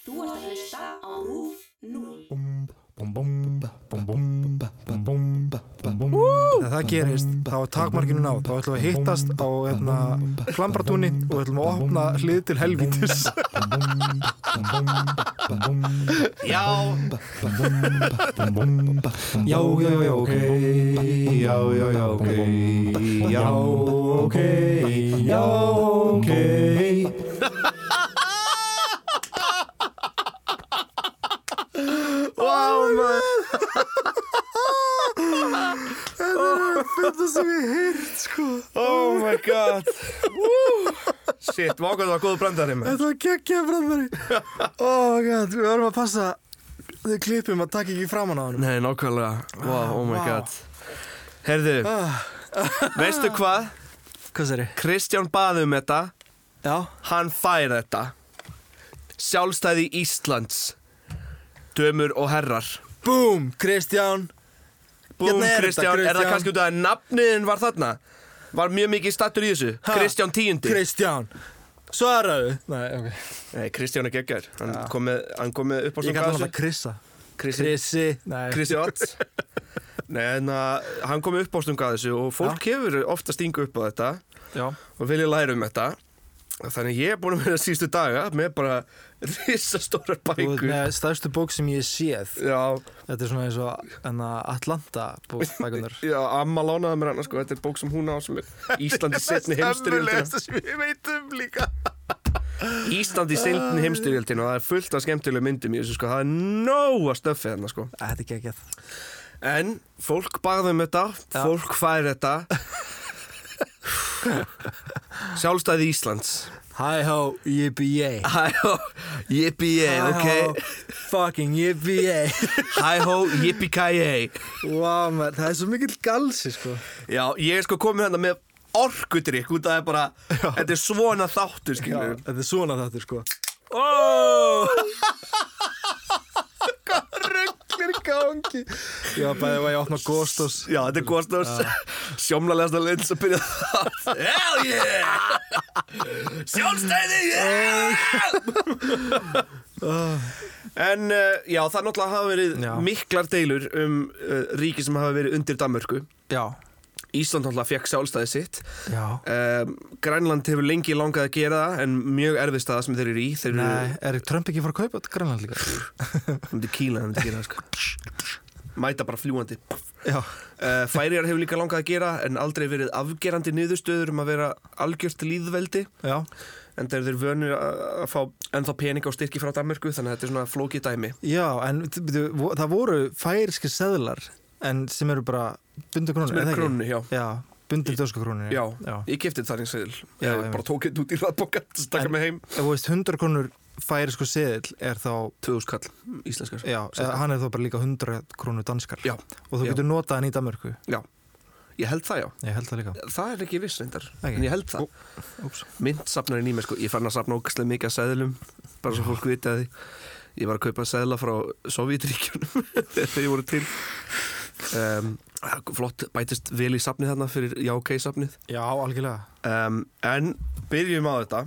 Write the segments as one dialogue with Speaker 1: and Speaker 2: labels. Speaker 1: Þú ert að hlusta á RÚF 0.
Speaker 2: Þegar það gerist, þá er takmarkinu náð þá ætlum við að hittast á hérna, klambratúni og við ætlum að opna hlið til helvítis
Speaker 3: Já,
Speaker 2: Já, já, já, ok Já, já, já, ok Já, ok Já, ok Oh
Speaker 3: wow, maður
Speaker 2: Þetta sem ég heyrt, sko
Speaker 3: Oh my god Woo. Shit, vákvæmt það var góð brandari með
Speaker 2: Þetta var geggja framfæri Oh my god, við verðum að passa þau klippum að taka ekki framan á hann
Speaker 3: Nei, nákvæmlega Wow, oh my
Speaker 2: Vá. Ah.
Speaker 3: god Herðu, veistu hvað?
Speaker 2: Hvað sér ég?
Speaker 3: Kristján baði um þetta
Speaker 2: Já,
Speaker 3: Hann fær þetta Sjálfstæði Íslands Dömur og herrar
Speaker 2: búm, Kristján
Speaker 3: Búm,
Speaker 2: Hérna er þetta,
Speaker 3: Kristján, er það
Speaker 2: Kristján.
Speaker 3: kannski út af að nafniðin var þarna? Var mjög mikið stattur í þessu
Speaker 2: Ha?
Speaker 3: Kristján tíundi
Speaker 2: Kristján Svaraðu Nei, ok
Speaker 3: Nei, Kristján er geggjær Hann kom með, hann kom með upp á
Speaker 2: Ég kallar hann að Krissa
Speaker 3: Kristján
Speaker 2: Krissi Nei
Speaker 3: Krissi Otts Nei, en að hann kom upp ástunga að þessu og fólk hefur ofta stingu upp á þetta
Speaker 2: Já
Speaker 3: og vilja læra um þetta Þannig ég er búin að vera sístu daga með bara risastórar
Speaker 2: Þú
Speaker 3: bækur
Speaker 2: veit með stærstu bók sem ég séð
Speaker 3: Já,
Speaker 2: Þetta er svona eins og enna Atlanta bók bækunar
Speaker 3: já, amma lánaði mér hana sko, þetta er bók sem hún á sem er Íslandi setni heimstyrjöldina
Speaker 2: sem ég veit um líka
Speaker 3: Íslandi setni heimstyrjöldina og það er fullt af skemmtilegum myndum í þessu sko, það er nóg að stöffi þarna sko
Speaker 2: Þetta er geggjað
Speaker 3: En fólk barði um þetta,
Speaker 2: Já.
Speaker 3: fólk fær þetta Sjálfstæði Íslands
Speaker 2: Hi ho, yippee
Speaker 3: Hæ-hó, yippee-yay, ok
Speaker 2: Fucking yippee
Speaker 3: Hæ-hó, yippee-ki-yay
Speaker 2: Vá, maður, það er svo mikill galsi, sko
Speaker 3: Já, ég er sko komið hérna með orkudrykk út af það er bara Þetta er svona þáttur, skilur
Speaker 2: Þetta er svona þáttur, sko
Speaker 3: oh!
Speaker 2: Rugglir gangi Já, bæði var ég að opna Gostos
Speaker 3: Já, þetta er Gostnars Sjómlalegasta leins að byrja það Hell yeah Sjálfstæði, yeah En uh, já, það náttúrulega hafa verið
Speaker 2: Já.
Speaker 3: miklar deilur um uh, ríki sem hafa verið undir Danmörku
Speaker 2: Já
Speaker 3: Ísland náttúrulega fekk sjálfstæði sitt
Speaker 2: Já
Speaker 3: Um, Grænland hefur lengi langað að gera það en mjög erfið staða sem þeir eru í þeir eru
Speaker 2: Nei, er Trump ekki fara að kaupa þetta grænland líka?
Speaker 3: um til kíla um til gera, það, sko. mæta bara fljúandi
Speaker 2: Já
Speaker 3: uh, Færiðar hefur líka langað að gera en aldrei verið afgerandi niðurstöður um að vera algjört líðveldi
Speaker 2: Já
Speaker 3: en þeir eru vönur að að fá ennþá pening á styrki frá Danmörku þannig að þetta er svona flókið dæmi
Speaker 2: Já, en t- byrju, vo- það voru færiske seðlar en sem eru bara bundu krónur
Speaker 3: sem
Speaker 2: er
Speaker 3: er
Speaker 2: það ekki?
Speaker 3: krónu, já
Speaker 2: Já, bundu dösku krónur
Speaker 3: Já,
Speaker 2: já.
Speaker 3: ég kefti það eins eðil
Speaker 2: Já,
Speaker 3: Ég bara
Speaker 2: einmitt.
Speaker 3: tók þetta út í ræðbóka þess að taka
Speaker 2: En-
Speaker 3: mig heim
Speaker 2: Ef þú veist 100 krónur færisku seðil er þá
Speaker 3: 2000 kall íslenskar
Speaker 2: Já, eða hann er þá bara líka 100 krónur danskar
Speaker 3: Já,
Speaker 2: Og þú
Speaker 3: já.
Speaker 2: getur notað hann í Danmörku
Speaker 3: já, ég held það já
Speaker 2: Ég held það líka
Speaker 3: Það er ekki viss reyndar,
Speaker 2: Ekki.
Speaker 3: en ég held það
Speaker 2: Úps
Speaker 3: myndsafnarinn í mér sko, ég fann að safna ógæslega mikið að seðlum, bara svo fólk viti að því ég var að kaupa seðla frá Sovjetríkjunum þegar þeir voru til um, flott bætist vel í safnið þarna fyrir jákei safnið
Speaker 2: Já, algjörlega
Speaker 3: um, en byrjum á þetta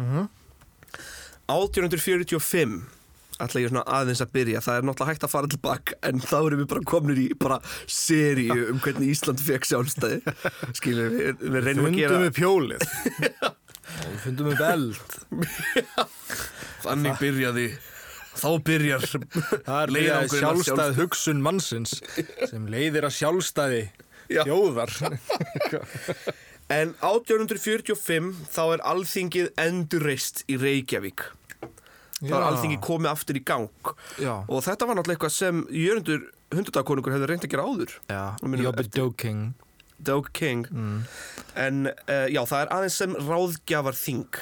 Speaker 2: mm -hmm.
Speaker 3: 1845 ætla ég svona aðeins að byrja það er náttúrulega hægt að fara tilbaka en þá erum við bara komnir í bara seríu um hvernig Ísland fekk sjálfstæði skilum við, við reynum að gera
Speaker 2: pjólið Fundum við belt
Speaker 3: þannig byrjaði þá byrjar
Speaker 2: Það er
Speaker 3: leiðangurinn
Speaker 2: leiðið
Speaker 3: að
Speaker 2: sjálfstæð hugsun mannsins sem leiðir að sjálfstæði
Speaker 3: Já.
Speaker 2: þjóðar
Speaker 3: En 1845 þá er alþingið endurreist í Reykjavík. Þá er alþingið komið aftur í gang.
Speaker 2: Já,
Speaker 3: Og þetta var náttúrulega eitthvað sem Jörundur hundardagkonungur hefði reynd að gera áður.
Speaker 2: já.
Speaker 3: Og minnum
Speaker 2: Jobby Doking
Speaker 3: Doug King.
Speaker 2: Mm.
Speaker 3: En uh, já, það er aðeins sem ráðgjafar þing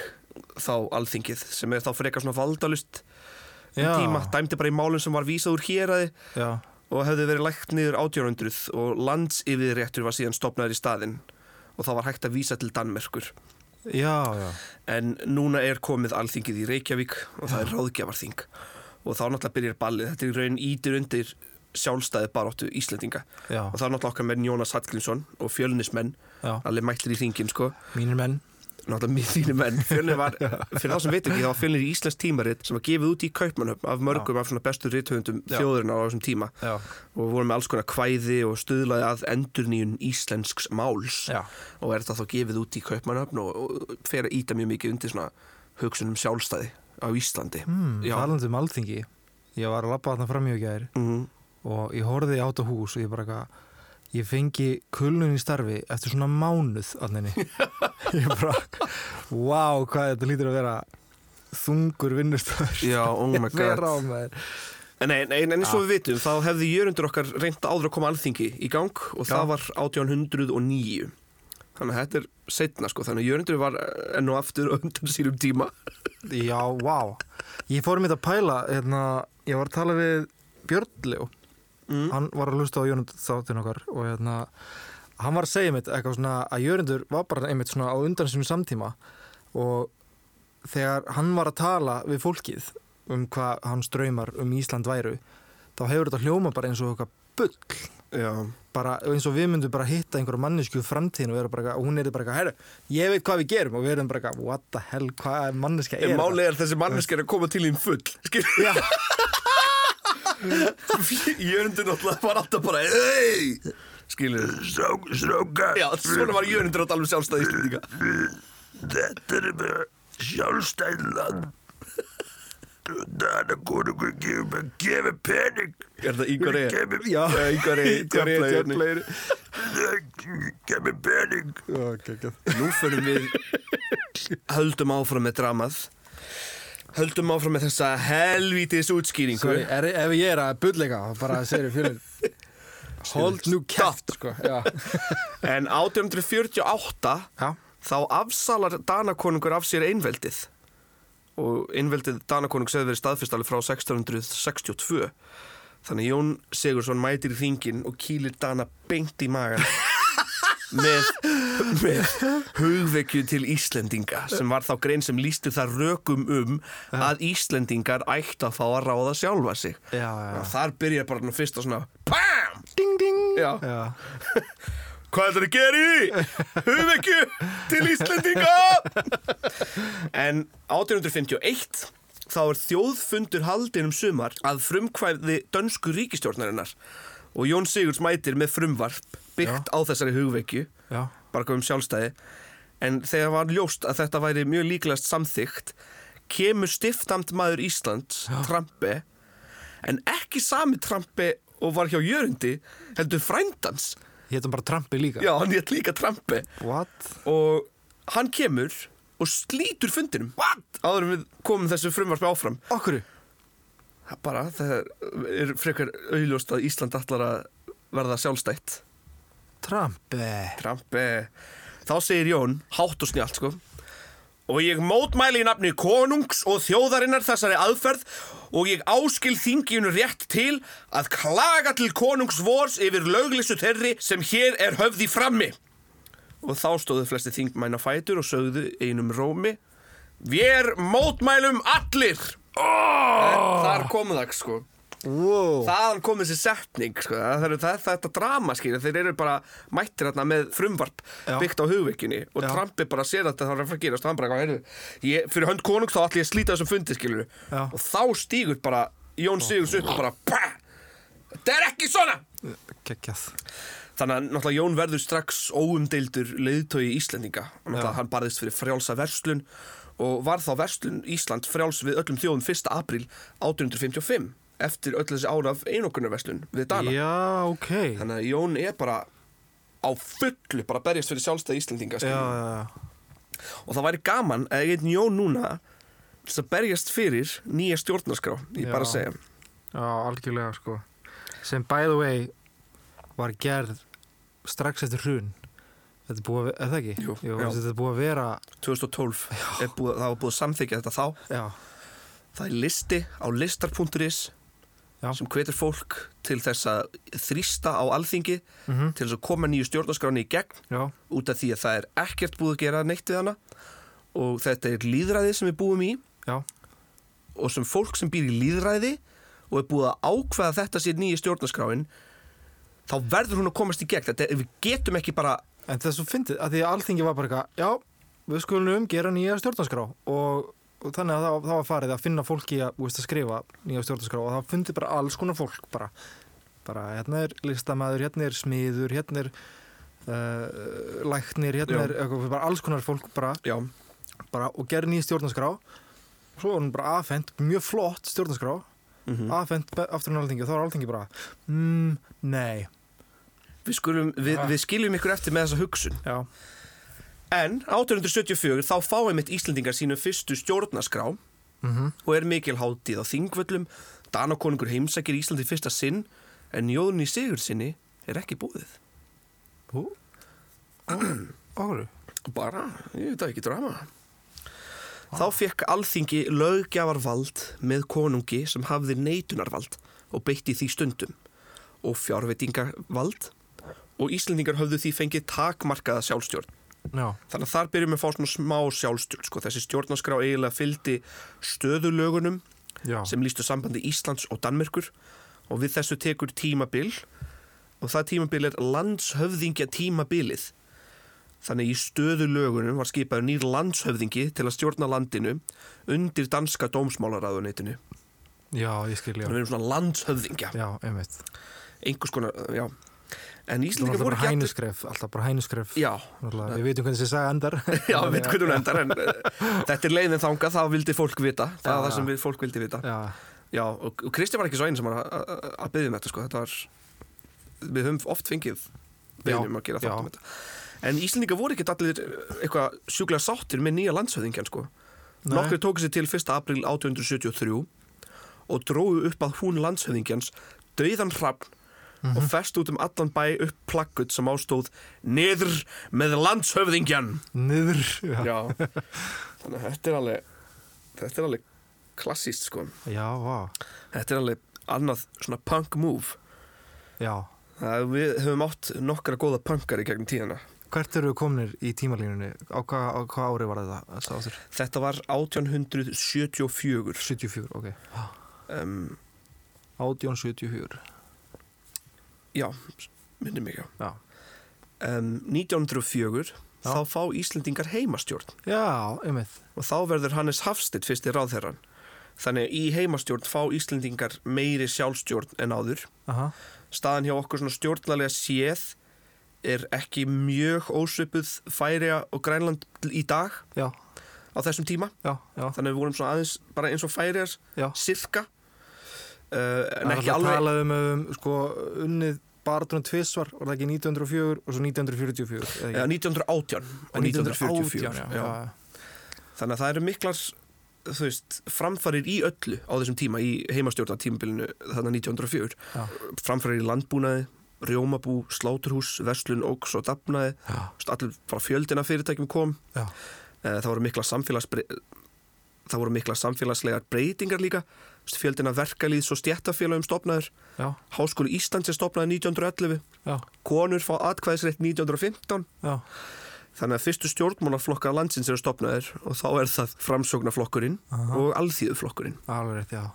Speaker 3: þá alþingið sem er þá frekar svona valdalust um
Speaker 2: Já.
Speaker 3: tíma. Dæmdi bara í málum sem var vísað úr héraði
Speaker 2: Já,
Speaker 3: og hefði verið lægt niður 1800 og landsyfirréttur var síðan stopnaður í staðinn og þá var hægt að vísa til Danmerkur.
Speaker 2: já, já
Speaker 3: En núna er komið alþingið í Reykjavík og það er ráðgjafarþing og þá náttúrulega byrjar ballið. Þetta er í raun ítir undir sjálfstæði baróttu Íslendinga
Speaker 2: Já,
Speaker 3: og það er náttúrulega okkar menn Jónas Hallgrímsson og fjölnismenn
Speaker 2: já,
Speaker 3: allir mættir í þingin sko.
Speaker 2: mínir menn
Speaker 3: náttúrulega mjög þínu menn fjölnir var, fyrir þá sem veit ekki, þá var fjölnir í Íslands tímarit sem var gefið út í Kaupmannhöfn af mörgum af svona bestu rithöfundum
Speaker 2: Já.
Speaker 3: þjóðurinn á þessum tíma
Speaker 2: Já.
Speaker 3: og voru með alls konar kvæði og stuðlaði að endurnýjun íslensks máls
Speaker 2: Já.
Speaker 3: og er þetta þá gefið út í Kaupmannhöfn og, og fer að íta mjög mikið undir svona hugsunum sjálfstæði á Íslandi
Speaker 2: Hmm,
Speaker 3: Já.
Speaker 2: talandi um alþingi Ég var að labba þarna fram í og gæri
Speaker 3: Mhm.
Speaker 2: og ég horfði átt á hús og ég bara eitthvað ég fengi kulnun í starfi eftir svona mánuð allinni ég bara, wow hvað þetta lítur að vera þungur vinnustöður
Speaker 3: Já, oh my god
Speaker 2: vera á maður
Speaker 3: En, nei, nei, en eins og við vitum, þá hefði jörundur okkar reynt áður að koma alþingi í gang og
Speaker 2: Já.
Speaker 3: það var 1809. Þannig að þetta er setna sko, þannig að jörundur var eh, enn og aftur á undan sínum tíma.
Speaker 2: já, wow ég fór mér að pæla hérna, ég var að tala við Björnlegu
Speaker 3: Mm.
Speaker 2: hann var að lusta á Jörnund þáttin okkar og hérna, hann var að segja mitt eitthvað svona að Jörnundur var bara einmitt svona á undan sínum samtíma og þegar hann var að tala við fólkið um hvað hans draumar um Ísland væru þá hefur þetta hljóma bara eins og eitthvað bull
Speaker 3: Já,
Speaker 2: bara eins og við myndum bara hitta einhverja mannesku framtíðin og, vera bara, eitthvað- og hún er bara eitthvað, herru, ég veit hvað við gerum og við erum bara, eitthvað, what the hell, hvað er manneska er
Speaker 3: en
Speaker 2: þetta?"
Speaker 3: málið er þessi manneski er að koma til þín full, skil.
Speaker 2: Já.
Speaker 3: jörundur náttúrulega var alltaf bara, hei, skilur.
Speaker 4: Strákar,
Speaker 3: Já, svona var jörundur alltaf alveg sjálfstæði íslendinga.
Speaker 4: þetta er bara sjálfstæð land. Dana konungur gefur mér gefur pening.
Speaker 3: Er það Ígor E?
Speaker 4: Gefur,
Speaker 3: Já, Ígor E, Ígor E, Djöfla E.
Speaker 4: gefur pening.
Speaker 3: Nú förum við höldum áfram með dramað höldum áfram með þessa helvítis útskýringu
Speaker 2: Sorry, er, ef ég er að bullega þá bara segir ég fjölinn Hold nú kæft sko. Já.
Speaker 3: en 1848
Speaker 2: Já.
Speaker 3: þá afsalar Danakonungur af sér einveldið og einveldið Danakonungs hefur verið staðfyrstali frá 1662 þannig að Jón Sigursson mætir í þingin og kýlir Dana beint í magan með, með hugvekju til Íslendinga sem var þá grein sem lísti það rökum um að Íslendingar ættu að fá að ráða sjálfa sig
Speaker 2: Já, já.
Speaker 3: og þar byrjar bara nú fyrst að svona PAM!
Speaker 2: Ding ding
Speaker 3: Já.
Speaker 2: Já.
Speaker 3: Hvað ætlar að gera í? Hugvekju til Íslendinga! En 1851 þá er þjóðfundur haldin um sumar að frumkvæði dönsku ríkistjórnarinnar og Jón Sigurds mætir með frumvarp byggt á þessari hugvekju
Speaker 2: Já.
Speaker 3: bara hvað um sjálfstæði en þegar var ljóst að þetta væri mjög líklegast samþygt kemur stiftamt maður Íslands Trampi en ekki sami Trampi og var hjá Jörundi heldur frændans
Speaker 2: Ég heitum bara Trampi líka
Speaker 3: Já, hann hétt líka Trampi
Speaker 2: What?
Speaker 3: og hann kemur og slítur fundinum What? áður en við komum þessu frumvarpi áfram
Speaker 2: Okkur
Speaker 3: Það er bara, það er frekar auðljóst að Ísland allar að verða sjálfstætt
Speaker 2: Trampi
Speaker 3: Trampi eh, Þá segir Jón, hátt og snjált sko Og ég mótmæli í nafni konungs og þjóðarinnar þessari aðferð og ég áskil þinginu rétt til að klaga til konungs vors yfir löglisu þeirri sem hér er höfði frammi. Og þá stóðu flesti þingmæna fætur og sögðu einum rómi Vér mótmælum allir! Oh! Þar komu það sko.
Speaker 2: wow.
Speaker 3: Þaðan kom þessi setning sko. það er, það, þetta drama skilja Þeir eru bara mættir hérna með frumvarp
Speaker 2: Já.
Speaker 3: Byggt á hugveikinni Og
Speaker 2: Já.
Speaker 3: Trampi bara sér þetta þá er að fara að gerast og Hann bara, hvað heyrðu ég, Fyrir hönd konung þá ætli ég að slíta þessum fundi skilju
Speaker 2: Já.
Speaker 3: Og þá stígur bara Jón Sigurðs upp og bara bah! Þetta er ekki svona
Speaker 2: Kekjað
Speaker 3: Þannig að náttúrulega Jón verður strax óumdeildur leiðtói Íslendinga. Náttúrulega
Speaker 2: Já.
Speaker 3: hann barðist fyrir frjálsa verslun og var þá verslun Ísland frjáls við öllum þjóðum 1. apríl 1855 eftir öll þessi ára af einokunarverslun við Dana.
Speaker 2: Já, ok Já,
Speaker 3: Þannig að Jón er bara á fullu bara að berjast fyrir sjálfstæði Íslendinga.
Speaker 2: já,
Speaker 3: skilurðu.
Speaker 2: já
Speaker 3: Og það væri gaman að ég eitthvað Jón núna til þess að berjast fyrir nýja stjórnarskrá, ég
Speaker 2: Já.
Speaker 3: bara að segja.
Speaker 2: Já, algjörlega sko Sem by the way var gerð strax eftir hrun Þetta er búið að, er það ekki?
Speaker 3: Jú, já.
Speaker 2: Þetta er búið að vera
Speaker 3: 2012 er búið, það var búið að samþykja þetta þá.
Speaker 2: Já,
Speaker 3: Það er listi á listar.is
Speaker 2: Já.
Speaker 3: sem hvetur fólk til þess að þrýsta á alþingi til þess að koma nýju stjórnarskráni í gegn
Speaker 2: Mhm. já,
Speaker 3: út af því að það er ekkert búið að gera neitt við hana og þetta er líðræði sem við búum í
Speaker 2: já
Speaker 3: og sem fólk sem býr í líðræði og er búið að ákveða þetta sér nýju stjórnarskráin þá verður hún að komast í gegn þetta, við getum ekki bara
Speaker 2: En það er svo fyndið að því að alþingi var bara eitthvað, já, við skulum um gera nýja stjórnarskrá og, og þannig að það, það var farið að finna fólki að, þú veist, að skrifa nýja stjórnarskrá og það fundi bara alls konar fólk bara, bara hérna er listamaður, hérna er smiður, hérna er uh, læknir, hérna
Speaker 3: Já.
Speaker 2: er eitthvað, bara alls konar fólk bara,
Speaker 3: Já,
Speaker 2: bara og gera nýja stjórnarskrá svo var hún bara afhent, mjög flott stjórnarskrá
Speaker 3: Mhm.
Speaker 2: afhent be- aftur en alþingi og þá var alþingi bara mm, nei,
Speaker 3: við, skulum, við,
Speaker 2: Ah.
Speaker 3: við skiljum ykkur eftir með þessa hugsun
Speaker 2: já,
Speaker 3: En 1874 þá fáið mitt Íslendingar sínu fyrstu stjórnaskrá
Speaker 2: mhm,
Speaker 3: og er mikil hátíð á þingvöllum Danakonungur heimsækir Íslandi fyrsta sinn en njóðun í sigur sinni er ekki búið
Speaker 2: hú okkur,
Speaker 3: Bara, ég veit það ekki drama Þá fekk alþingi löggjafarvald með konungi sem hafði neitunarvald og beitti því stundum og fjárveitingarvald og Íslendingar höfðu því fengið takmarkaða sjálfstjórn
Speaker 2: já
Speaker 3: Þannig að þar byrjum við að fá svona smá sjálfstjórn sko. Þessi stjórnarskrá eiginlega fylgdi stöðulögunum
Speaker 2: Já.
Speaker 3: sem lístu sambandi Íslands og Danmerkur og við þessu tekur tímabil og það tímabil er landshöfðingja tímabilið Þannig í stöðulögunum var skipaður nýr landshöfðingi til að stjórna landinu undir danska dómsmálaráðuneytinu
Speaker 2: Já, ég skil, já.
Speaker 3: Þannig við erum svona landshöfðingja,
Speaker 2: Já, einmitt.
Speaker 3: einhvers konar, já
Speaker 2: Það
Speaker 3: En
Speaker 2: var
Speaker 3: Íslendingar
Speaker 2: alltaf
Speaker 3: voru
Speaker 2: bara
Speaker 3: ekki allir-
Speaker 2: hænuskref, alltaf bara hænuskref.
Speaker 3: Já,
Speaker 2: Náttúrulega, Við veitum hvernig þessi saga endar.
Speaker 3: Já, við veitum hvernig hún endar en uh, þetta er leiðin þangað, það vildi fólk vita það
Speaker 2: Já,
Speaker 3: er það
Speaker 2: já.
Speaker 3: sem við, fólk vildi vita
Speaker 2: Já,
Speaker 3: Já, og og Kristi var ekki svo einn sem var að- að að byggja um þetta sko, þetta var við höfum oft fengið
Speaker 2: Já,
Speaker 3: byggjum að gera þátt
Speaker 2: já.
Speaker 3: um þetta En Íslendinga voru ekkert allir eh, eitthvað sjúklega sáttir með nýja landshöfðingjan sko
Speaker 2: Nei.
Speaker 3: Nokkur tóku sér til 1. april 1873 og dróðu upp að hún landshöfðingjans döiðan hrafn
Speaker 2: Mhm.
Speaker 3: og fest út um allan bæ upp plakkut sem ástóð Niður með landshöfðingjan
Speaker 2: niður. Já,
Speaker 3: Já, þannig að þetta er alveg þetta er alveg klassíst sko
Speaker 2: já, vá.
Speaker 3: þetta er alveg annað svona punk move
Speaker 2: Já.
Speaker 3: það við höfum átt nokkra góða punkar í gegnum tíðina
Speaker 2: Hvert eru við komnir í tímalínunni? Á hvað á hva ári var þetta? Sá þér?
Speaker 3: þetta var 1874
Speaker 2: 74, ok.
Speaker 3: um,
Speaker 2: 1874.
Speaker 3: já, minnum mig já
Speaker 2: Já.
Speaker 3: um, 1904
Speaker 2: Já.
Speaker 3: þá fá Íslendingar heimastjórn
Speaker 2: Já, einmitt.
Speaker 3: og þá verður Hannes Hafstedt fyrst í ráðherran þannig að í heimastjórn fá Íslendingar meiri sjálfstjórn en áður
Speaker 2: Aha.
Speaker 3: staðan hjá okkur svona stjórnlega séð er ekki mjög ósvipuð færiða og grænland í dag
Speaker 2: Já,
Speaker 3: á þessum tíma
Speaker 2: já, já.
Speaker 3: þannig að við vorum svona aðeins bara eins og færiðar
Speaker 2: Já.
Speaker 3: sirka uh, en
Speaker 2: Það
Speaker 3: ekki
Speaker 2: var alltaf
Speaker 3: alveg
Speaker 2: talað um, um, sko, unnið barðunum tvissvar, var það ekki 1904 og svo 1944? eða ekki?
Speaker 3: eða 1918 og 1944
Speaker 2: já,
Speaker 3: já.
Speaker 2: já.
Speaker 3: þannig að það eru miklar þú veist, framfarir í öllu á þessum tíma í heimastjórna tímabilinu þannig 1904
Speaker 2: Já.
Speaker 3: framfarir í landbúnaði, rjómabú, sláturhús verslun, óks og dafnaði
Speaker 2: Já,
Speaker 3: Þú veist, allir frá fjöldina fyrirtækjum kom
Speaker 2: já,
Speaker 3: Eh, það voru mikla samfélags það voru mikla samfélagslegar breytingar líka Þú veist, fjöldina verkalýðs og stjættafélagum stopnaður
Speaker 2: já,
Speaker 3: Háskóli Íslands er stopnaði 1911
Speaker 2: já,
Speaker 3: konur fá atkvæðisreitt 1915
Speaker 2: já.
Speaker 3: þannig að fyrstu stjórnmálaflokka landsins eru stopnaðir og þá er það framsóknarflokkurinn
Speaker 2: Aha.
Speaker 3: og alþýðuflokkurinn
Speaker 2: Alveg rétt, já.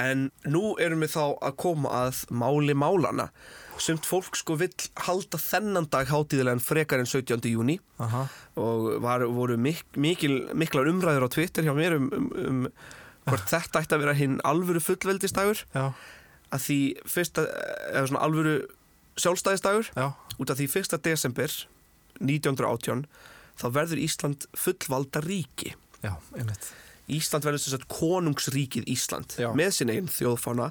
Speaker 3: en nú erum við þá að koma að máli málana sumt fólk sko vill halda þennan dag hátíðilegan frekar en 17. júni
Speaker 2: Aha.
Speaker 3: og var, voru mik mikil, miklar umræður á Twitter hjá mér um, um, um hvort þetta ætti að vera hinn alvöru fullveldistagur
Speaker 2: Já,
Speaker 3: að því fyrsta, eða svona alvöru sjálfstæðistagur
Speaker 2: já,
Speaker 3: út af því 1. desember 1918 þá verður Ísland fullvalda ríki
Speaker 2: já, einmitt.
Speaker 3: Ísland verður sem sagt konungsríkið Ísland
Speaker 2: Já.
Speaker 3: með sinn eigin þjóðfána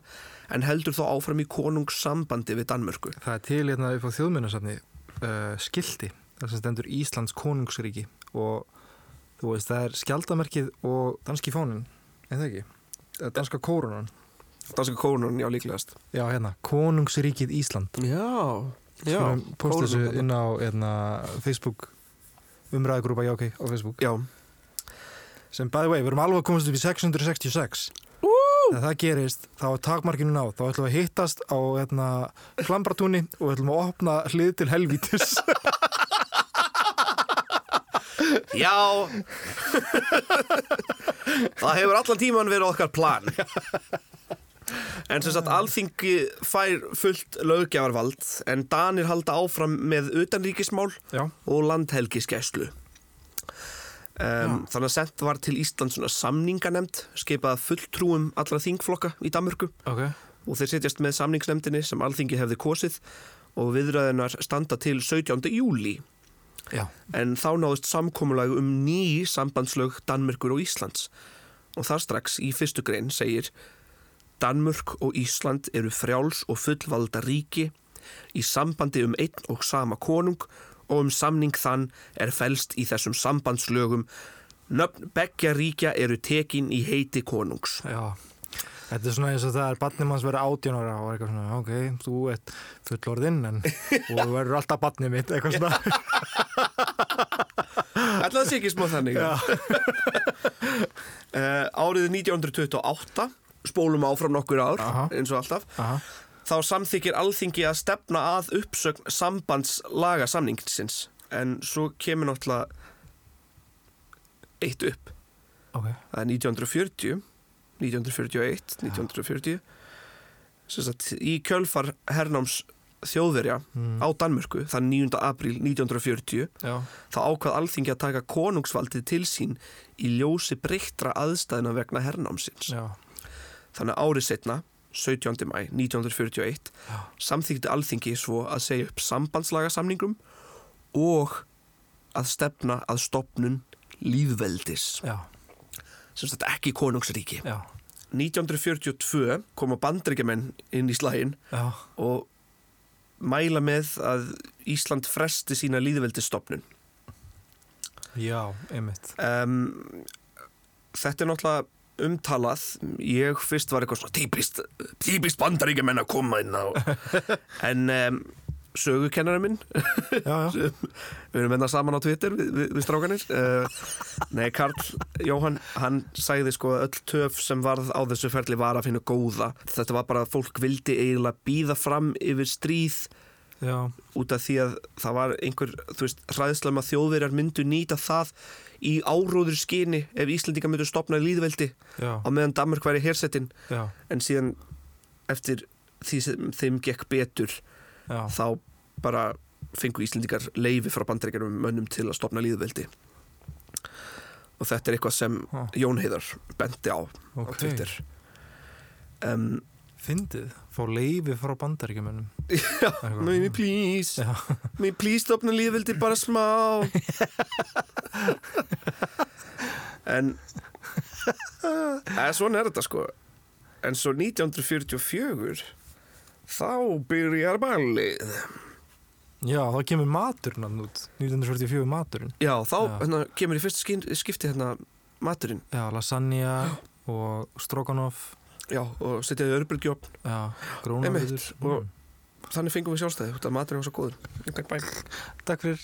Speaker 3: en heldur þá áfram í konungssambandi við Danmörku
Speaker 2: Það er til hérna upp á þjóðmyndasafni uh, skildi, þar sem stendur Íslands konungsríki og þú veist, það er skjaldamerkið og danski fáninn, en það ekki? Eh, Danska kórunan.
Speaker 3: Danska konun, já líklegast
Speaker 2: Já, hérna, konungsríkið Ísland.
Speaker 3: Já,
Speaker 2: Skulum posta þessu inn á hérna, Facebook umræðugrúpa, já ok, á Facebook.
Speaker 3: Já,
Speaker 2: Sem by the way, við erum alveg að komast upp í 666. Þegar það gerist, þá er takmarkinu náð, þá ætlum við að hittast á hérna, klambratúni og við ætlum að opna hlið til helvítis.
Speaker 3: já Það hefur allan tíman verið okkar plan En sem sagt, alþingi fær fullt löggjafarvald en Danir halda áfram með utanríkismál
Speaker 2: já,
Speaker 3: og landhelgiskeslu Um, þannig að sent var til Ísland svona samninganemnd skipað fulltrúum allra þingflokka í Danmörku
Speaker 2: ok,
Speaker 3: og þeir setjast með samningsnemndinni sem alþingi hefði kosið og viðræðinar standa til 17. júli
Speaker 2: já,
Speaker 3: en þá náðist samkomulag um ný sambandslög Danmörkur og Íslands og þar strax í fyrstu grein segir Danmörk og Ísland eru frjáls og fullvalda ríki í sambandi um einn og sama konung og um samning þann er fælst í þessum sambandslögum Nöfn beggja ríkja eru tekin í heiti konungs.
Speaker 2: já Þetta er svona eins og það er barnið manns verið átján ára og er eitthvað svona, ok, þú ert fullorðinn en og þú verður alltaf barnið mitt, eitthvað svona
Speaker 3: Ætla það sé ekki smá þannig uh, Árið 1928 Spólum áfram nokkur ár
Speaker 2: Aha.
Speaker 3: Eins og alltaf
Speaker 2: Aha.
Speaker 3: Þá samþykir alþingi að stefna að uppsögn Sambandslaga samningsins En svo kemur náttúrulega Eitt upp
Speaker 2: Ok,
Speaker 3: Það er 1940 1941, 1940 sem sagt í kjölfar hernáms þjóðverja
Speaker 2: Hmm.
Speaker 3: á Danmörku þann 9. apríl 1940
Speaker 2: já,
Speaker 3: þá ákvað alþingi að taka konungsvaldið til sín í ljósi breyttra aðstæðina vegna hernámsins.
Speaker 2: já,
Speaker 3: Þannig að árið setna, 17. mæ 1941, samþykti alþingi svo að segja upp sambandslagasamningum og að stefna að stopnun lífveldis,
Speaker 2: já,
Speaker 3: sem sagt ekki konungsríki.
Speaker 2: já,
Speaker 3: 1942 koma bandryggjumenn inn í slægin
Speaker 2: já,
Speaker 3: og mæla með að Ísland fresti sína líðveldistofnun.
Speaker 2: já, einmitt,
Speaker 3: um, Þetta er náttúrulega umtalað Ég fyrst var eitthvað svona típist, típist bandaríkjumenn að koma inn á En um, sögukennarinn minn
Speaker 2: já, já,
Speaker 3: Við erum enna saman á Twitter við, við, við strákanir uh, Nei, Karl Jóhann Hann sagði sko að öll töf sem varð á þessu ferli var að finna góða Þetta var bara að fólk vildi eiginlega býða fram yfir stríð
Speaker 2: já,
Speaker 3: út af því að það var einhver, þú veist, hræðsla um að þjóðverjar myndu nýta það í áróður skyni ef Íslendinga myndu stopna líðveldi
Speaker 2: já,
Speaker 3: á meðan Danmark væri hersetin
Speaker 2: já,
Speaker 3: en síðan eftir því sem þeim gekk betur
Speaker 2: já,
Speaker 3: þá bara fengu Íslendingar leifi frá bandaríkjarum mönnum til að stopna líðveldi og þetta er eitthvað sem
Speaker 2: Ha.
Speaker 3: Jón Heiðar benti á á
Speaker 2: ok,
Speaker 3: Twitter um,
Speaker 2: fyndið, fá leifi frá bandaríkjumennum,
Speaker 3: Já, may me please
Speaker 2: Já.
Speaker 3: May please stopna lífveldi bara smá En eða, Svona er þetta sko En svo 1944 Þá byrjar ballið
Speaker 2: já, þá kemur maturinn hann út, 1944 maturinn,
Speaker 3: Já, þá
Speaker 2: Já.
Speaker 3: Hérna, kemur í fyrst skin, skipti hérna maturinn
Speaker 2: já, lasagna og stroganoff,
Speaker 3: Já, og setjaði örbulgjófn
Speaker 2: já, Mm. grónavitur,
Speaker 3: Einmitt, og- Þannig fengum við sjálfstæði, þetta maturinn var svo góður Takk bæk
Speaker 2: takk fyrir,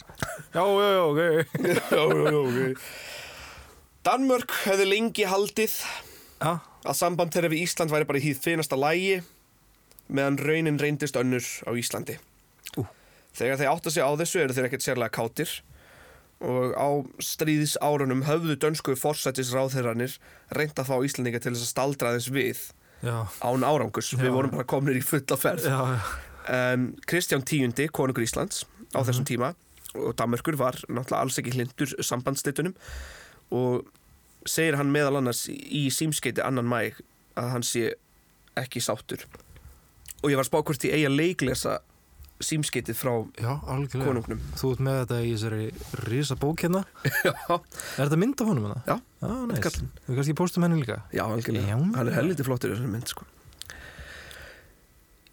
Speaker 2: já, já, já, ok,
Speaker 3: já, já, já, ok Danmörk hefði lengi haldið
Speaker 2: já,
Speaker 3: að samband þeirra við Ísland væri bara í hýð finasta lægi meðan raunin reyndist önnur á Íslandi
Speaker 2: Ú.
Speaker 3: Þegar þeir átta sig á þessu eru þeir ekkert sérlega kátir og á stríðis árunum höfðu dönsku forsætisráðherranir reynda þá Íslandinga til þess að staldra þess við
Speaker 2: já,
Speaker 3: án árangurs,
Speaker 2: Já.
Speaker 3: við vorum bara komnir í fulla ferð
Speaker 2: já, já,
Speaker 3: um, Kristján tíundi, konungur Íslands á þessum tíma og Danmörkur var náttúrulega alls ekki hlindur sambandslitunum og segir hann meðal annars í símskeiti annan mæg að hann sé ekki sáttur og ég var að spá hvort ég eigi að leiklesa símskeitið frá
Speaker 2: já, algjörlega,
Speaker 3: konungnum
Speaker 2: þú ert með þetta í þessari risa bók hérna,
Speaker 3: Já,
Speaker 2: er þetta mynd af honum hana?
Speaker 3: Já.
Speaker 2: já, næs,
Speaker 3: kallinn.
Speaker 2: við kannski póstum henni líka,
Speaker 3: já algjörlega,
Speaker 2: Já.
Speaker 3: hann er helviti flottur í þessari mynd sko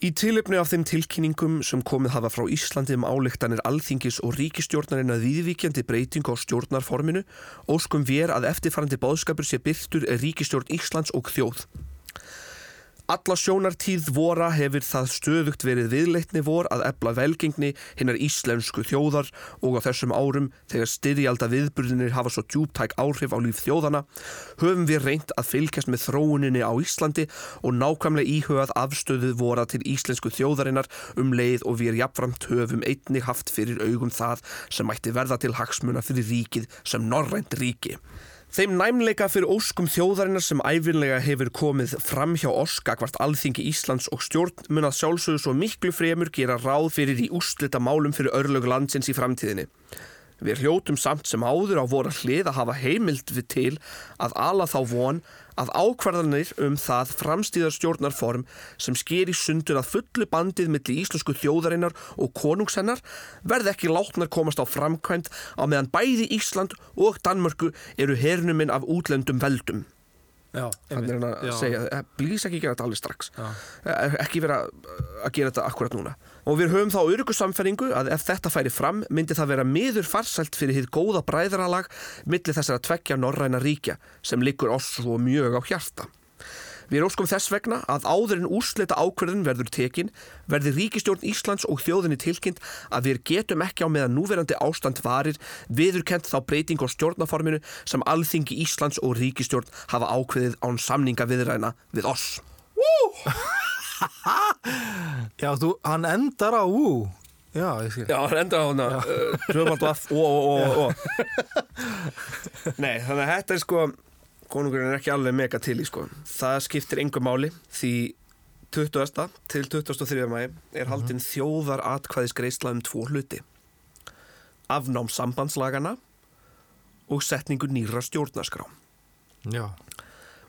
Speaker 3: Í tilöfni af þeim tilkynningum sem komið hafa frá Íslandi um álektanir alþingis og ríkistjórnarinn að viðvíkjandi breyting á stjórnarforminu óskum vér að eftirfarandi bóðskapur sé byrtur ríkistjórn Íslands og þjóð. Alla sjónartíð vora hefur það stöðugt verið viðleitni vor að ebla velgengni hinnar íslensku þjóðar og á þessum árum þegar styrjalda viðburðinir hafa svo djúptæk áhrif á líf þjóðana höfum við reynt að fylgjast með þróuninni á Íslandi og nákvæmlega íhugað afstöðu vora til íslensku þjóðarinnar um leið og við jafnframt höfum einni haft fyrir augum það sem mætti verða til hagsmuna fyrir ríkið sem norrænt ríki. Þeim næmleika fyrir óskum þjóðarinnar sem æfinlega hefur komið fram hjá oskakvart alþingi Íslands og stjórn mun að sjálfsögðu svo miklu fremur gera ráð fyrir í úrslita málum fyrir örlög landsins í framtíðinni. Við hljótum samt sem áður á voru hlið að hafa heimild við til að ala þá von að ákvarðanir um það framstíðarstjórnarform sem sker í sundur að fullu bandið milli íslensku þjóðarinnar og konungsennar verði ekki látnar komast á framkvæmt á meðan bæði Ísland og Danmörku eru hernuminn af útlendum veldum.
Speaker 2: Já,
Speaker 3: Þannig er hann að segja, eh, please ekki gera þetta alveg strax Eh, ekki vera eh, að gera þetta akkurat núna og við höfum þá öryggusamfæringu að ef þetta færi fram myndi það vera miður farsælt fyrir hitt góða bræðralag milli þessara tveggja norræna ríkja sem liggur oss svo mjög á hjarta Við erum óskum þess vegna að áður en úrslita ákverðin verður tekin verði ríkistjórn Íslands og þjóðinni tilkynnt að við getum ekki á meðan núverandi ástand varir viðurkent þá breyting á stjórnaforminu sem alþingi Íslands og ríkistjórn hafa ákveðið án samninga viðræna við oss.
Speaker 2: Já, þú, hann endar á ú Já, ég skil
Speaker 3: Já, enda á hana Tvöfald vaff og, og, og, og Nei, þannig að þetta er sko Konungurinn er ekki alveg mega til í sko Það skiptir engu máli Því 20. til 23. mæ er haldin þjóðar atkvæðisgreisla um tvo hluti Afnám sambandslagana og setningu nýra stjórnarskrá
Speaker 2: Já,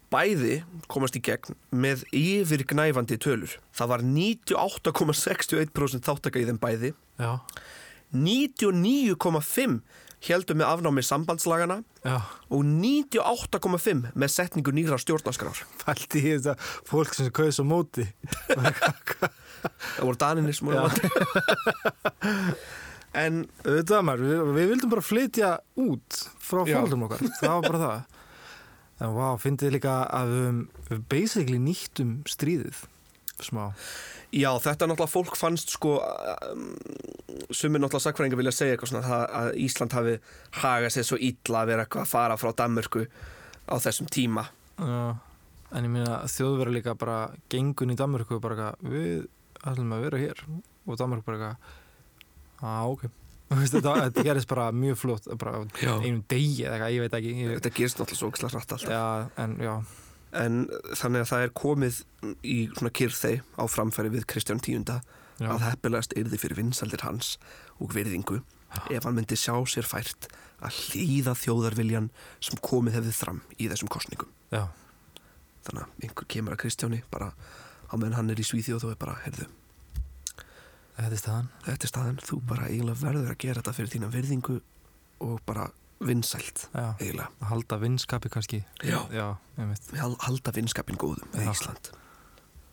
Speaker 3: bæði komast í gegn með yfirgnæfandi tölur. Það var 98,61% þáttaka í þeim bæði
Speaker 2: já,
Speaker 3: 99,5 heldur með afnámi sambandslagana
Speaker 2: já
Speaker 3: og 98,5 með setningu nýra stjórnarskrár.
Speaker 2: Fælti í þetta fólk sem kaus á móti
Speaker 3: Það voru daninni sem voru
Speaker 2: Já.
Speaker 3: vandi. en
Speaker 2: Þetta maður, við, við vildum bara flytja út frá
Speaker 3: Já.
Speaker 2: fólkum okkar Það var bara það En vá, fyndið líka að við, höfum- við basically nýttum stríðið Smá
Speaker 3: já, þetta er náttúrulega fólk fannst sko, um, sumir náttúrulega sakfræðingar vilja segja eitthvað svona það, að Ísland hafi hagað sér svo illa að vera eitthvað að fara frá Danmörku á þessum tíma.
Speaker 2: Já, en ég meina þjóðverða líka bara gengun í Danmörku og bara eitthvað, við ætlum að vera hér og Danmörku bara eitthvað að ok Þú veist, þetta, þetta gerist bara mjög flott bara á
Speaker 3: Já.
Speaker 2: einum degi eða eitthvað, ég veit ekki ég,
Speaker 3: Þetta gerist náttúrulega svo ógislega rætt alltaf.
Speaker 2: já, en já,
Speaker 3: En þannig að það er komið í svona kyrþei á framfæri við Kristján Tíunda
Speaker 2: já,
Speaker 3: að heppilegast yrði fyrir vinsaldir hans og virðingu ef hann myndi sjá sér fært að hlýða þjóðarviljan sem komið hefði fram í þessum kostningum.
Speaker 2: já,
Speaker 3: Þannig að einhver kemur að Kristjáni bara á meðan hann er í Svíþjóð og er bara, heyrðu,
Speaker 2: þetta er staðan
Speaker 3: þetta er staðan, þú bara eiginlega verður að gera þetta fyrir þína virðingu og bara vinsælt,
Speaker 2: já,
Speaker 3: eiginlega.
Speaker 2: að halda vinskapi kannski
Speaker 3: Já.
Speaker 2: já, einmitt
Speaker 3: Við hal- halda vinskapin góðum við
Speaker 2: Já.
Speaker 3: Ísland.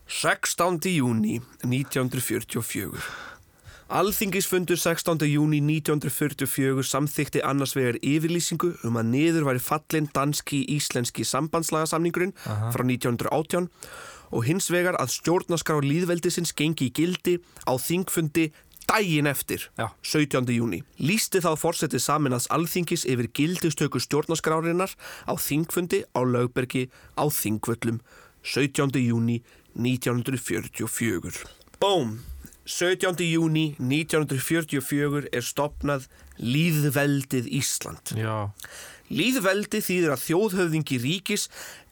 Speaker 3: 16. júni 1944 Alþingisfundur 16. júni 1944 samþykti annars vegar yfirlýsingu um að niður væri fallin danski-íslenski sambandslagasamningurinn
Speaker 2: Aha.
Speaker 3: frá 1918 og hins vegar að stjórnaskrá líðveldisins gengi í gildi á þingfundi daginn eftir
Speaker 2: Já.
Speaker 3: 17. júni. Lýsti þá forsetið saminans alþingis yfir gildistöku stjórnaskrárinnar á þingfundi á lögbergi á þingvöllum 17. júni 1944. Bóm! 17. júni 1944 er stopnað Líðveldið Ísland.
Speaker 2: já,
Speaker 3: Líðveldi þýðir að þjóðhöfðingi ríkis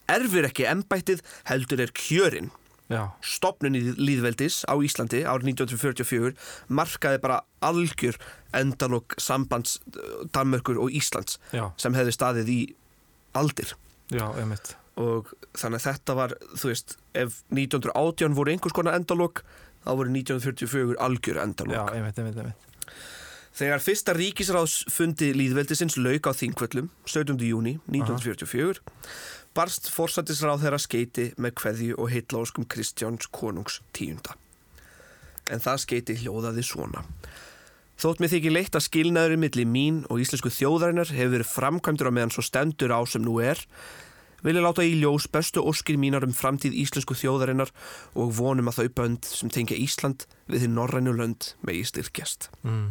Speaker 3: erfir ekki embættið heldur er kjörinn.
Speaker 2: já,
Speaker 3: Stopnun í líðveldis á Íslandi árið 1944 markaði bara algjör endalok sambands eh, Danmörkur og Íslands
Speaker 2: já,
Speaker 3: sem hefði staðið í aldir
Speaker 2: já, einmitt
Speaker 3: og þannig að þetta var, þú veist, ef 1918 voru einhvers konar endalok þá voru 1944 algjör endalok.
Speaker 2: já, einmitt, einmitt, einmitt
Speaker 3: Þegar fyrsta ríkisráðsfundi líðveldisins lauk á Þingvöllum 17. júni 1944 barst forsættisráð þeirra skeiti með kveðju og heitláskum Kristjáns konungs tíunda. En það skeiti hljóðaði svona. Þótt mér þykir leitt að skilnaðurinn milli mín og íslensku þjóðarinnar hefur verið framkvæmdur á meðan svo stendur á sem nú er, vil ég láta í ljós bestu óskir mínar um framtíð íslensku þjóðarinnar og vonum að þau bönd sem tengja Ísland við þið norrænu lönd megi styrkjast
Speaker 2: mm,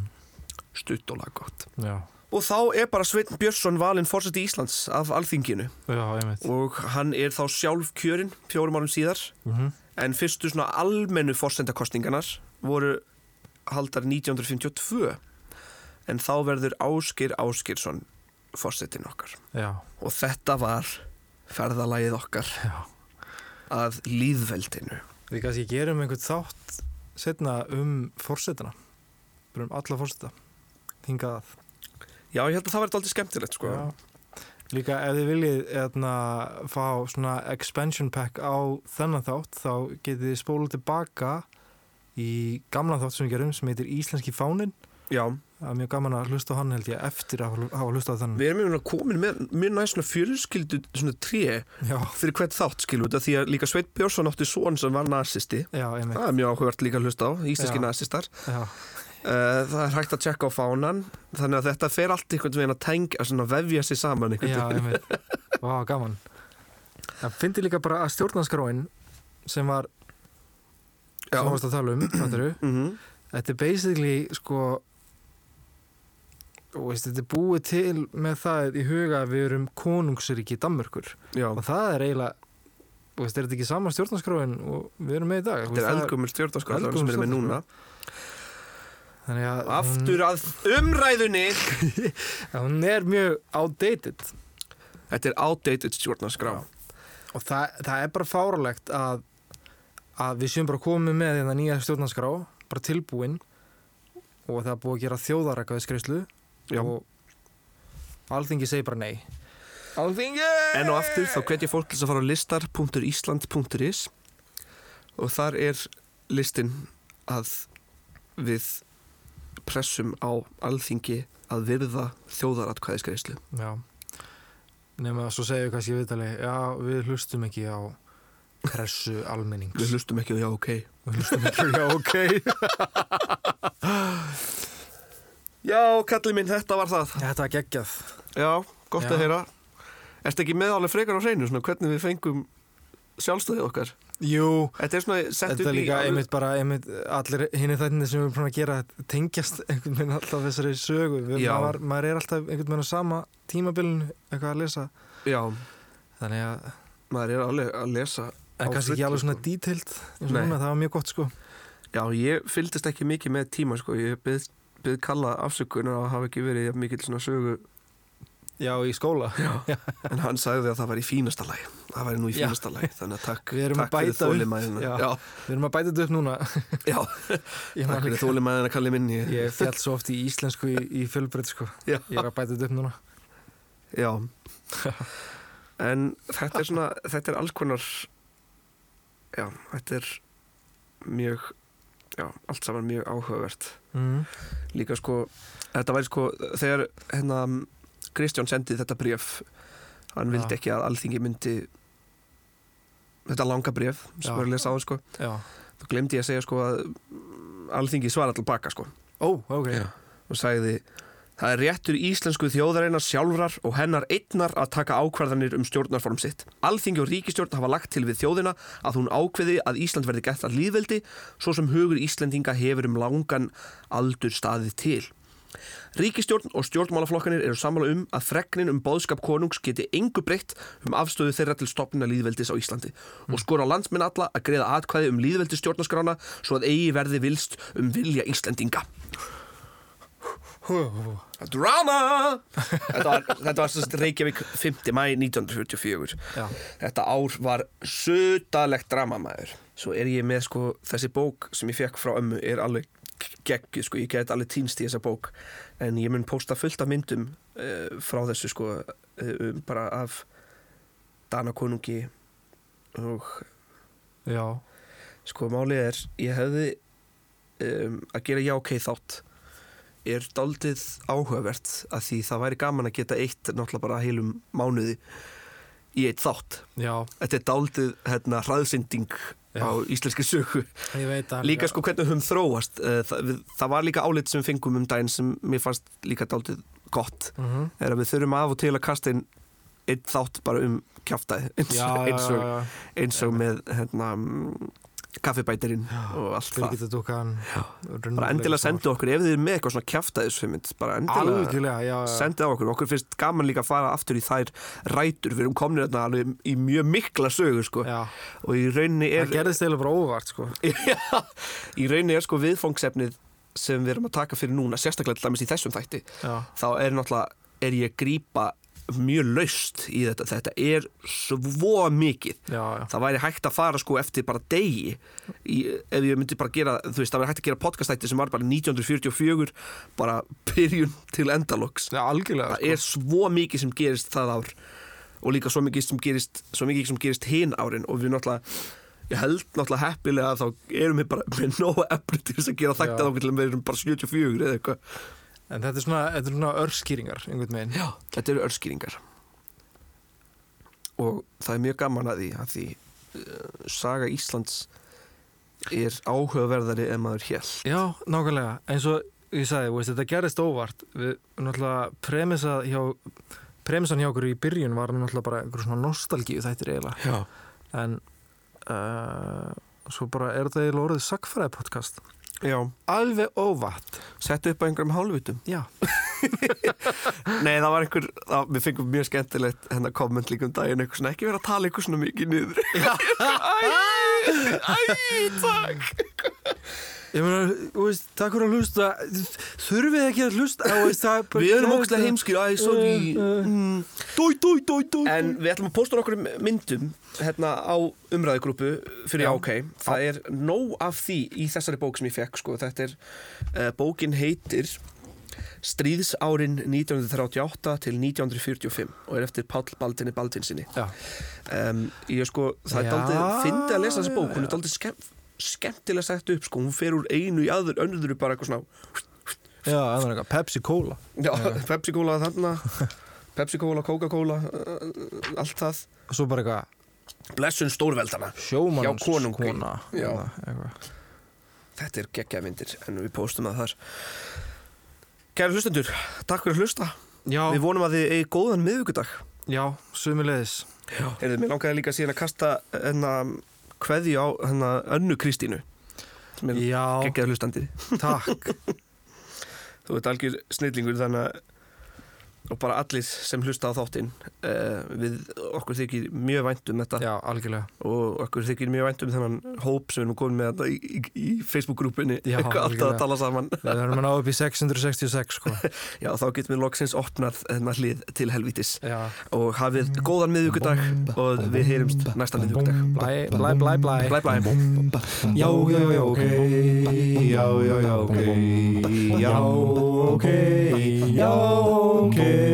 Speaker 3: stutt og laggótt.
Speaker 2: já,
Speaker 3: Og þá er bara Sveinn Björnsson valinn fórseti Íslands af alþinginu
Speaker 2: já, einmitt
Speaker 3: og hann er þá sjálf kjörinn fjórum árum síðar
Speaker 2: mm
Speaker 3: en fyrstu svona almennu fórsendakostningarnar voru haldar 1952 en þá verður Áskir Áskirsson fórsetin okkar.
Speaker 2: já,
Speaker 3: Og þetta var ferðalagið okkar
Speaker 2: já
Speaker 3: að líðveldinu.
Speaker 2: Við kannski gerum einhvern þátt setna um fórsetuna, bara um alla fórseta hingað að
Speaker 3: Já, ég held að það væri aldrei skemmtilegt sko.
Speaker 2: Já. Líka ef þið viljið eðna, fá svona expansion pack á þennan þátt þá getið þið spólað tilbaka í gamla þátt sem við gerum sem heitir Íslenski fáninn
Speaker 3: Já,
Speaker 2: það er mjög gaman að hlusta á hann held ég eftir að hafa hafa hlustað á þennan
Speaker 3: við erum einhvern veginn komin með mjög næst svona fjölskyldu svona tré
Speaker 2: Já,
Speaker 3: fyrir hvert þátt skilu þetta því að líka Sveit Björnsson átti són sem var nazisti
Speaker 2: já, einmitt
Speaker 3: það er mjög áhugart líka að hlusta á, íslenski
Speaker 2: Já.
Speaker 3: nazistar
Speaker 2: já,
Speaker 3: uh, það er hægt að tjekka á fánan þannig að þetta fer allt einhvern veginn að tengja svona vefja sig saman einhvern
Speaker 2: já,
Speaker 3: veginn
Speaker 2: einmitt Vá, gaman Það fyndi líka bara að stjórnarskráin sem var
Speaker 3: Já.
Speaker 2: sem varst að tala um, fattarðu?
Speaker 3: mm
Speaker 2: þetta er basically sko og veist, þetta er búið til með það í huga að við erum konungsríki Danmörkur
Speaker 3: já.
Speaker 2: og það er eiginlega og veist, er þetta ekki sama stjórnarskráin og við erum með í dag
Speaker 3: þetta er eldgumul stjórnarskóla sem
Speaker 2: Eldgömul
Speaker 3: við erum með núna
Speaker 2: þannig að hún,
Speaker 3: aftur að
Speaker 2: Mm.
Speaker 3: umræðunni
Speaker 2: að hún er mjög outdated
Speaker 3: þetta er outdated stjórnarskrá
Speaker 2: og það, það er bara fáralegt að, að við séum bara komið með þetta nýja stjórnarskrá bara tilbúin og það er búið að gera þjóðarækkaði skreyslu
Speaker 3: Já.
Speaker 2: og alþingi segir bara nei Alþingi!
Speaker 3: En og aftur þá hvet ég fólk til þess að fara á listar.island.is og þar er listin að við pressum á alþingi að virða þjóðaratkvæðisgreislu.
Speaker 2: Já, nema svo segjum við kannski í viðtali, já, við hlustum ekki á pressu almennings
Speaker 3: Við hlustum ekki á já, ok.
Speaker 2: Við hlustum ekki á, já, ok
Speaker 3: Já, kallið minn, þetta var það.
Speaker 2: Þetta var geggjað
Speaker 3: Já, gott
Speaker 2: Já.
Speaker 3: að heyra. Ertu ekki meðálega frekar á hreinu, svona hvernig við fengum sjálfstöðið okkar?
Speaker 2: Jú,
Speaker 3: Þetta er svona sett
Speaker 2: þetta
Speaker 3: upp
Speaker 2: er líka
Speaker 3: í...
Speaker 2: einmitt bara, einmitt allir hinni þættinni sem við erum búin að gera tengjast einhvern veginn alltaf þessari sögu við,
Speaker 3: Já.
Speaker 2: maður, maður er alltaf einhvern veginn á sama tímabilinu eitthvað að lesa
Speaker 3: Já,
Speaker 2: Þannig að,
Speaker 3: maður er alveg að lesa.
Speaker 2: en
Speaker 3: Á
Speaker 2: kannski
Speaker 3: fullu,
Speaker 2: ekki alveg svona
Speaker 3: sko.
Speaker 2: detailed eins og
Speaker 3: Nei.
Speaker 2: núna, það var mjög gott sko
Speaker 3: Já, ég fylgdist ekki mikið með tíma sko, ég byrð byð kalla afsökunar að hafa ekki verið jafn mikill svona sögu
Speaker 2: Já, í skóla
Speaker 3: en hann sagði að það var í fínasta lagi það var nú í
Speaker 2: Já.
Speaker 3: fínasta lagi, þannig að takk
Speaker 2: Við erum að
Speaker 3: takk fyrir
Speaker 2: bæta upp.
Speaker 3: þolinmæðina.
Speaker 2: Já.
Speaker 3: Já,
Speaker 2: Við erum að bæta þetta upp núna
Speaker 3: já,
Speaker 2: Ég man
Speaker 3: takk fyrir
Speaker 2: líka-
Speaker 3: þólimæðina kallið minni
Speaker 2: Ég fjall svo oft í íslensku í, í fjölbreyt sko.
Speaker 3: Já.
Speaker 2: Ég er að bæta þetta upp núna
Speaker 3: Já En þetta er svona þetta er alls konar já, þetta er mjög já, allt saman mjög áhugavert
Speaker 2: mm.
Speaker 3: líka sko, þetta væri sko þegar hérna Kristján sendi þetta bréf hann
Speaker 2: Já.
Speaker 3: vildi ekki að alþingi myndi þetta langa bréf sem
Speaker 2: Já.
Speaker 3: var að lesa á hann sko
Speaker 2: Já
Speaker 3: þá glemdi ég að segja sko að mm, alþingi svara til baka sko
Speaker 2: Ó, ok
Speaker 3: Já. og sagði það er réttur íslensku þjóðarinnar sjálfrar og hennar einnar að taka ákvarðanir um stjórnarform sitt. Alþingi og ríkistjórn hafa lagt til við þjóðina að hún ákveði að Ísland verði gett að líðveldi svo sem hugur Íslendinga hefur um langan aldur staðið til. Ríkistjórn og stjórnmálaflokkanir eru sammála um að fregnin um bóðskap konungs geti engu breytt um afstöðu þeirra til stopnina líðveldis á Íslandi og skora á landsmenn alla að greiða atkvæði um líðveldi stjórnarskrána svo að eigi verði vilst um vilja Íslendinga.
Speaker 2: Hú, hú.
Speaker 3: Drama! Þetta var, þetta var svo sagt Reykjavík 5. mæ 1944.
Speaker 2: Já.
Speaker 3: Þetta ár var sötalegt dramamæður. Svo er ég með sko, þessi bók sem ég fekk frá ömmu er alveg geggjuð, sko, ég get alveg týnst í þessa bók. En ég mun posta fullt af myndum uh, frá þessu, sko, uh, um, bara af Danakonungi og
Speaker 2: Já
Speaker 3: Sko málið er, ég hefði um, að gera já ok þátt er daldið áhugavert að því það væri gaman að geta eitt náttúrulega bara heilum mánuði í eitt þátt.
Speaker 2: Já,
Speaker 3: Þetta er daldið hérna hraðsending
Speaker 2: Já.
Speaker 3: á íslenski sögu.
Speaker 2: ég veit að
Speaker 3: Líka sko hvernig höfum þróast. eh, Það, við, það var líka álit sem við fengum um daginn sem mér fannst líka daldið gott.
Speaker 2: mm
Speaker 3: Er að við þurfum af og til að kasta inn eitt þátt bara um kjáftæði eins,
Speaker 2: Já, já,
Speaker 3: eins
Speaker 2: já,
Speaker 3: og
Speaker 2: já
Speaker 3: eins og með hérna, mm, kaffibætirinn og allt það
Speaker 2: Birgitta Dúkan
Speaker 3: bara endilega sendu okkur ef þið er með eitthvað svona kjaftaðisfimmind bara endilega
Speaker 2: sko. Algjörlega, já, já
Speaker 3: sendið á okkur okkur finnst gaman líka að fara aftur í þær rætur við erum komnir þarna alveg í mjög mikla sögu sko.
Speaker 2: Já,
Speaker 3: og í rauninni
Speaker 2: það
Speaker 3: er
Speaker 2: gerðist eiginlega bara óvart sko
Speaker 3: Já, í rauninni er sko viðfangsefnið sem við erum að taka fyrir núna sérstaklega til dæmis í þessum þætti
Speaker 2: Já,
Speaker 3: þá er náttúrulega er ég að grípa mjög laust í þetta þetta er svo mikið
Speaker 2: já, já,
Speaker 3: það væri hægt að fara sko eftir bara degi í, ef ég myndi bara gera þú veist, það væri hægt að gera podcastætti sem var bara 1944 bara byrjun til endaloks
Speaker 2: já, sko. algjörlega
Speaker 3: það er svo mikið sem gerist það ár og líka svo mikið sem gerist svo mikið sem gerist hin árin og við náttúrulega ég held náttúrulega heppilega að þá erum við bara með nóg efni til þess að gera þakta
Speaker 2: Já.
Speaker 3: þá til að við erum bara 74 eða eitthvað
Speaker 2: En þetta er svona, þetta er svona örskýringar einhvern veginn.
Speaker 3: Já, þetta eru örskýringar og það er mjög gaman að því að því uh, saga Íslands er áhugaverðari en maður hér
Speaker 2: Já, nákvæmlega. Eins og ég sagði, þú veist, þetta gerist óvart. Við náttúrulega premisað hjá, premisan hjá okkur í byrjun var náttúrulega bara einhver svona nostalgíu þættir eiginlega.
Speaker 3: Já,
Speaker 2: En uh, svo bara er þetta eiginlega orðið sagfræði podcast.
Speaker 3: já
Speaker 2: Alveg óvart.
Speaker 3: Settu upp á einhverjum hálfvitum
Speaker 2: Já.
Speaker 3: Nei, það var einhver, það, við fengum mjög skemmtilegt hennar komment líka um daginn eitthvað svona, ekki vera að tala eitthvað svona mikið niður Æ, æ, takk
Speaker 2: Ég meina, þú veist, takk fyrir að hlusta. Þurfið þið ekki að hlusta. Þú Veist, það er bara-
Speaker 3: Við erum ógstlega heimskir, æ, sorry
Speaker 2: Uh, uh.
Speaker 3: Mm.
Speaker 2: Dói, dói, dói, dói.
Speaker 3: En við ætlum að posta okkur myndum hérna á umræðugrúpu fyrir
Speaker 2: Já.
Speaker 3: OK. Það er nóg af því í þessari bók sem ég fekk, sko. Þetta er, uh, bókin heitir Stríðsárin 1938 til 1945 og er eftir Páll Baldinni Baldinsinni.
Speaker 2: Já.
Speaker 3: Um, ég sko,
Speaker 2: Já,
Speaker 3: það er daldið fyndi að lesa
Speaker 2: já,
Speaker 3: þessa bók, hún er daldið skemmt, skemmtilega sett upp, sko. Hún fer úr einu í aður, önnurður bara eitthvað svona,
Speaker 2: Já, það er eitthvað Pepsi Cola.
Speaker 3: já, Pepsi-Cola þarna, Pepsi-Cola, Coca-Cola, uh, uh, allt það.
Speaker 2: Og svo bara eitthvað
Speaker 3: Blessun stórveldana.
Speaker 2: sjómann
Speaker 3: Já, konungi. Já.
Speaker 2: eitthvað.
Speaker 3: Þetta er geggja myndir en við póstum það þar Kæru hlustendur, takk fyrir að hlusta
Speaker 2: já,
Speaker 3: Við vonum að þið eigi góðan miðvikudag
Speaker 2: já sömulegis
Speaker 3: Heyrðu, mér langaði líka síðan að kasta hennar kveðju á hennar önnu Kristínu sem er
Speaker 2: já,
Speaker 3: geggjaður hlustandi
Speaker 2: takk
Speaker 3: Þú ert algjör snillingur þannig að og bara allir sem hlusta á þáttinn uh, við okkur þykir mjög vænt um þetta
Speaker 2: já, algjörlega
Speaker 3: og okkur þykir mjög vænt um þennan hóp sem við erum komin með þetta í, í, í Facebook-grúpunni
Speaker 2: Já,
Speaker 3: alltaf
Speaker 2: algjörlega.
Speaker 3: að tala saman
Speaker 2: við erum að ná upp í 666 sko.
Speaker 3: Já, þá getum við loksins opnað hennar hlið til helvítis
Speaker 2: já,
Speaker 3: og hafið góðan miðvíkudag og við heyrumst næsta miðvíkudag.
Speaker 2: blæ, blæ, blæ, blæ
Speaker 3: Blæ blæ.
Speaker 2: já, já, já, ok já, já, já, ok já, ok já, ok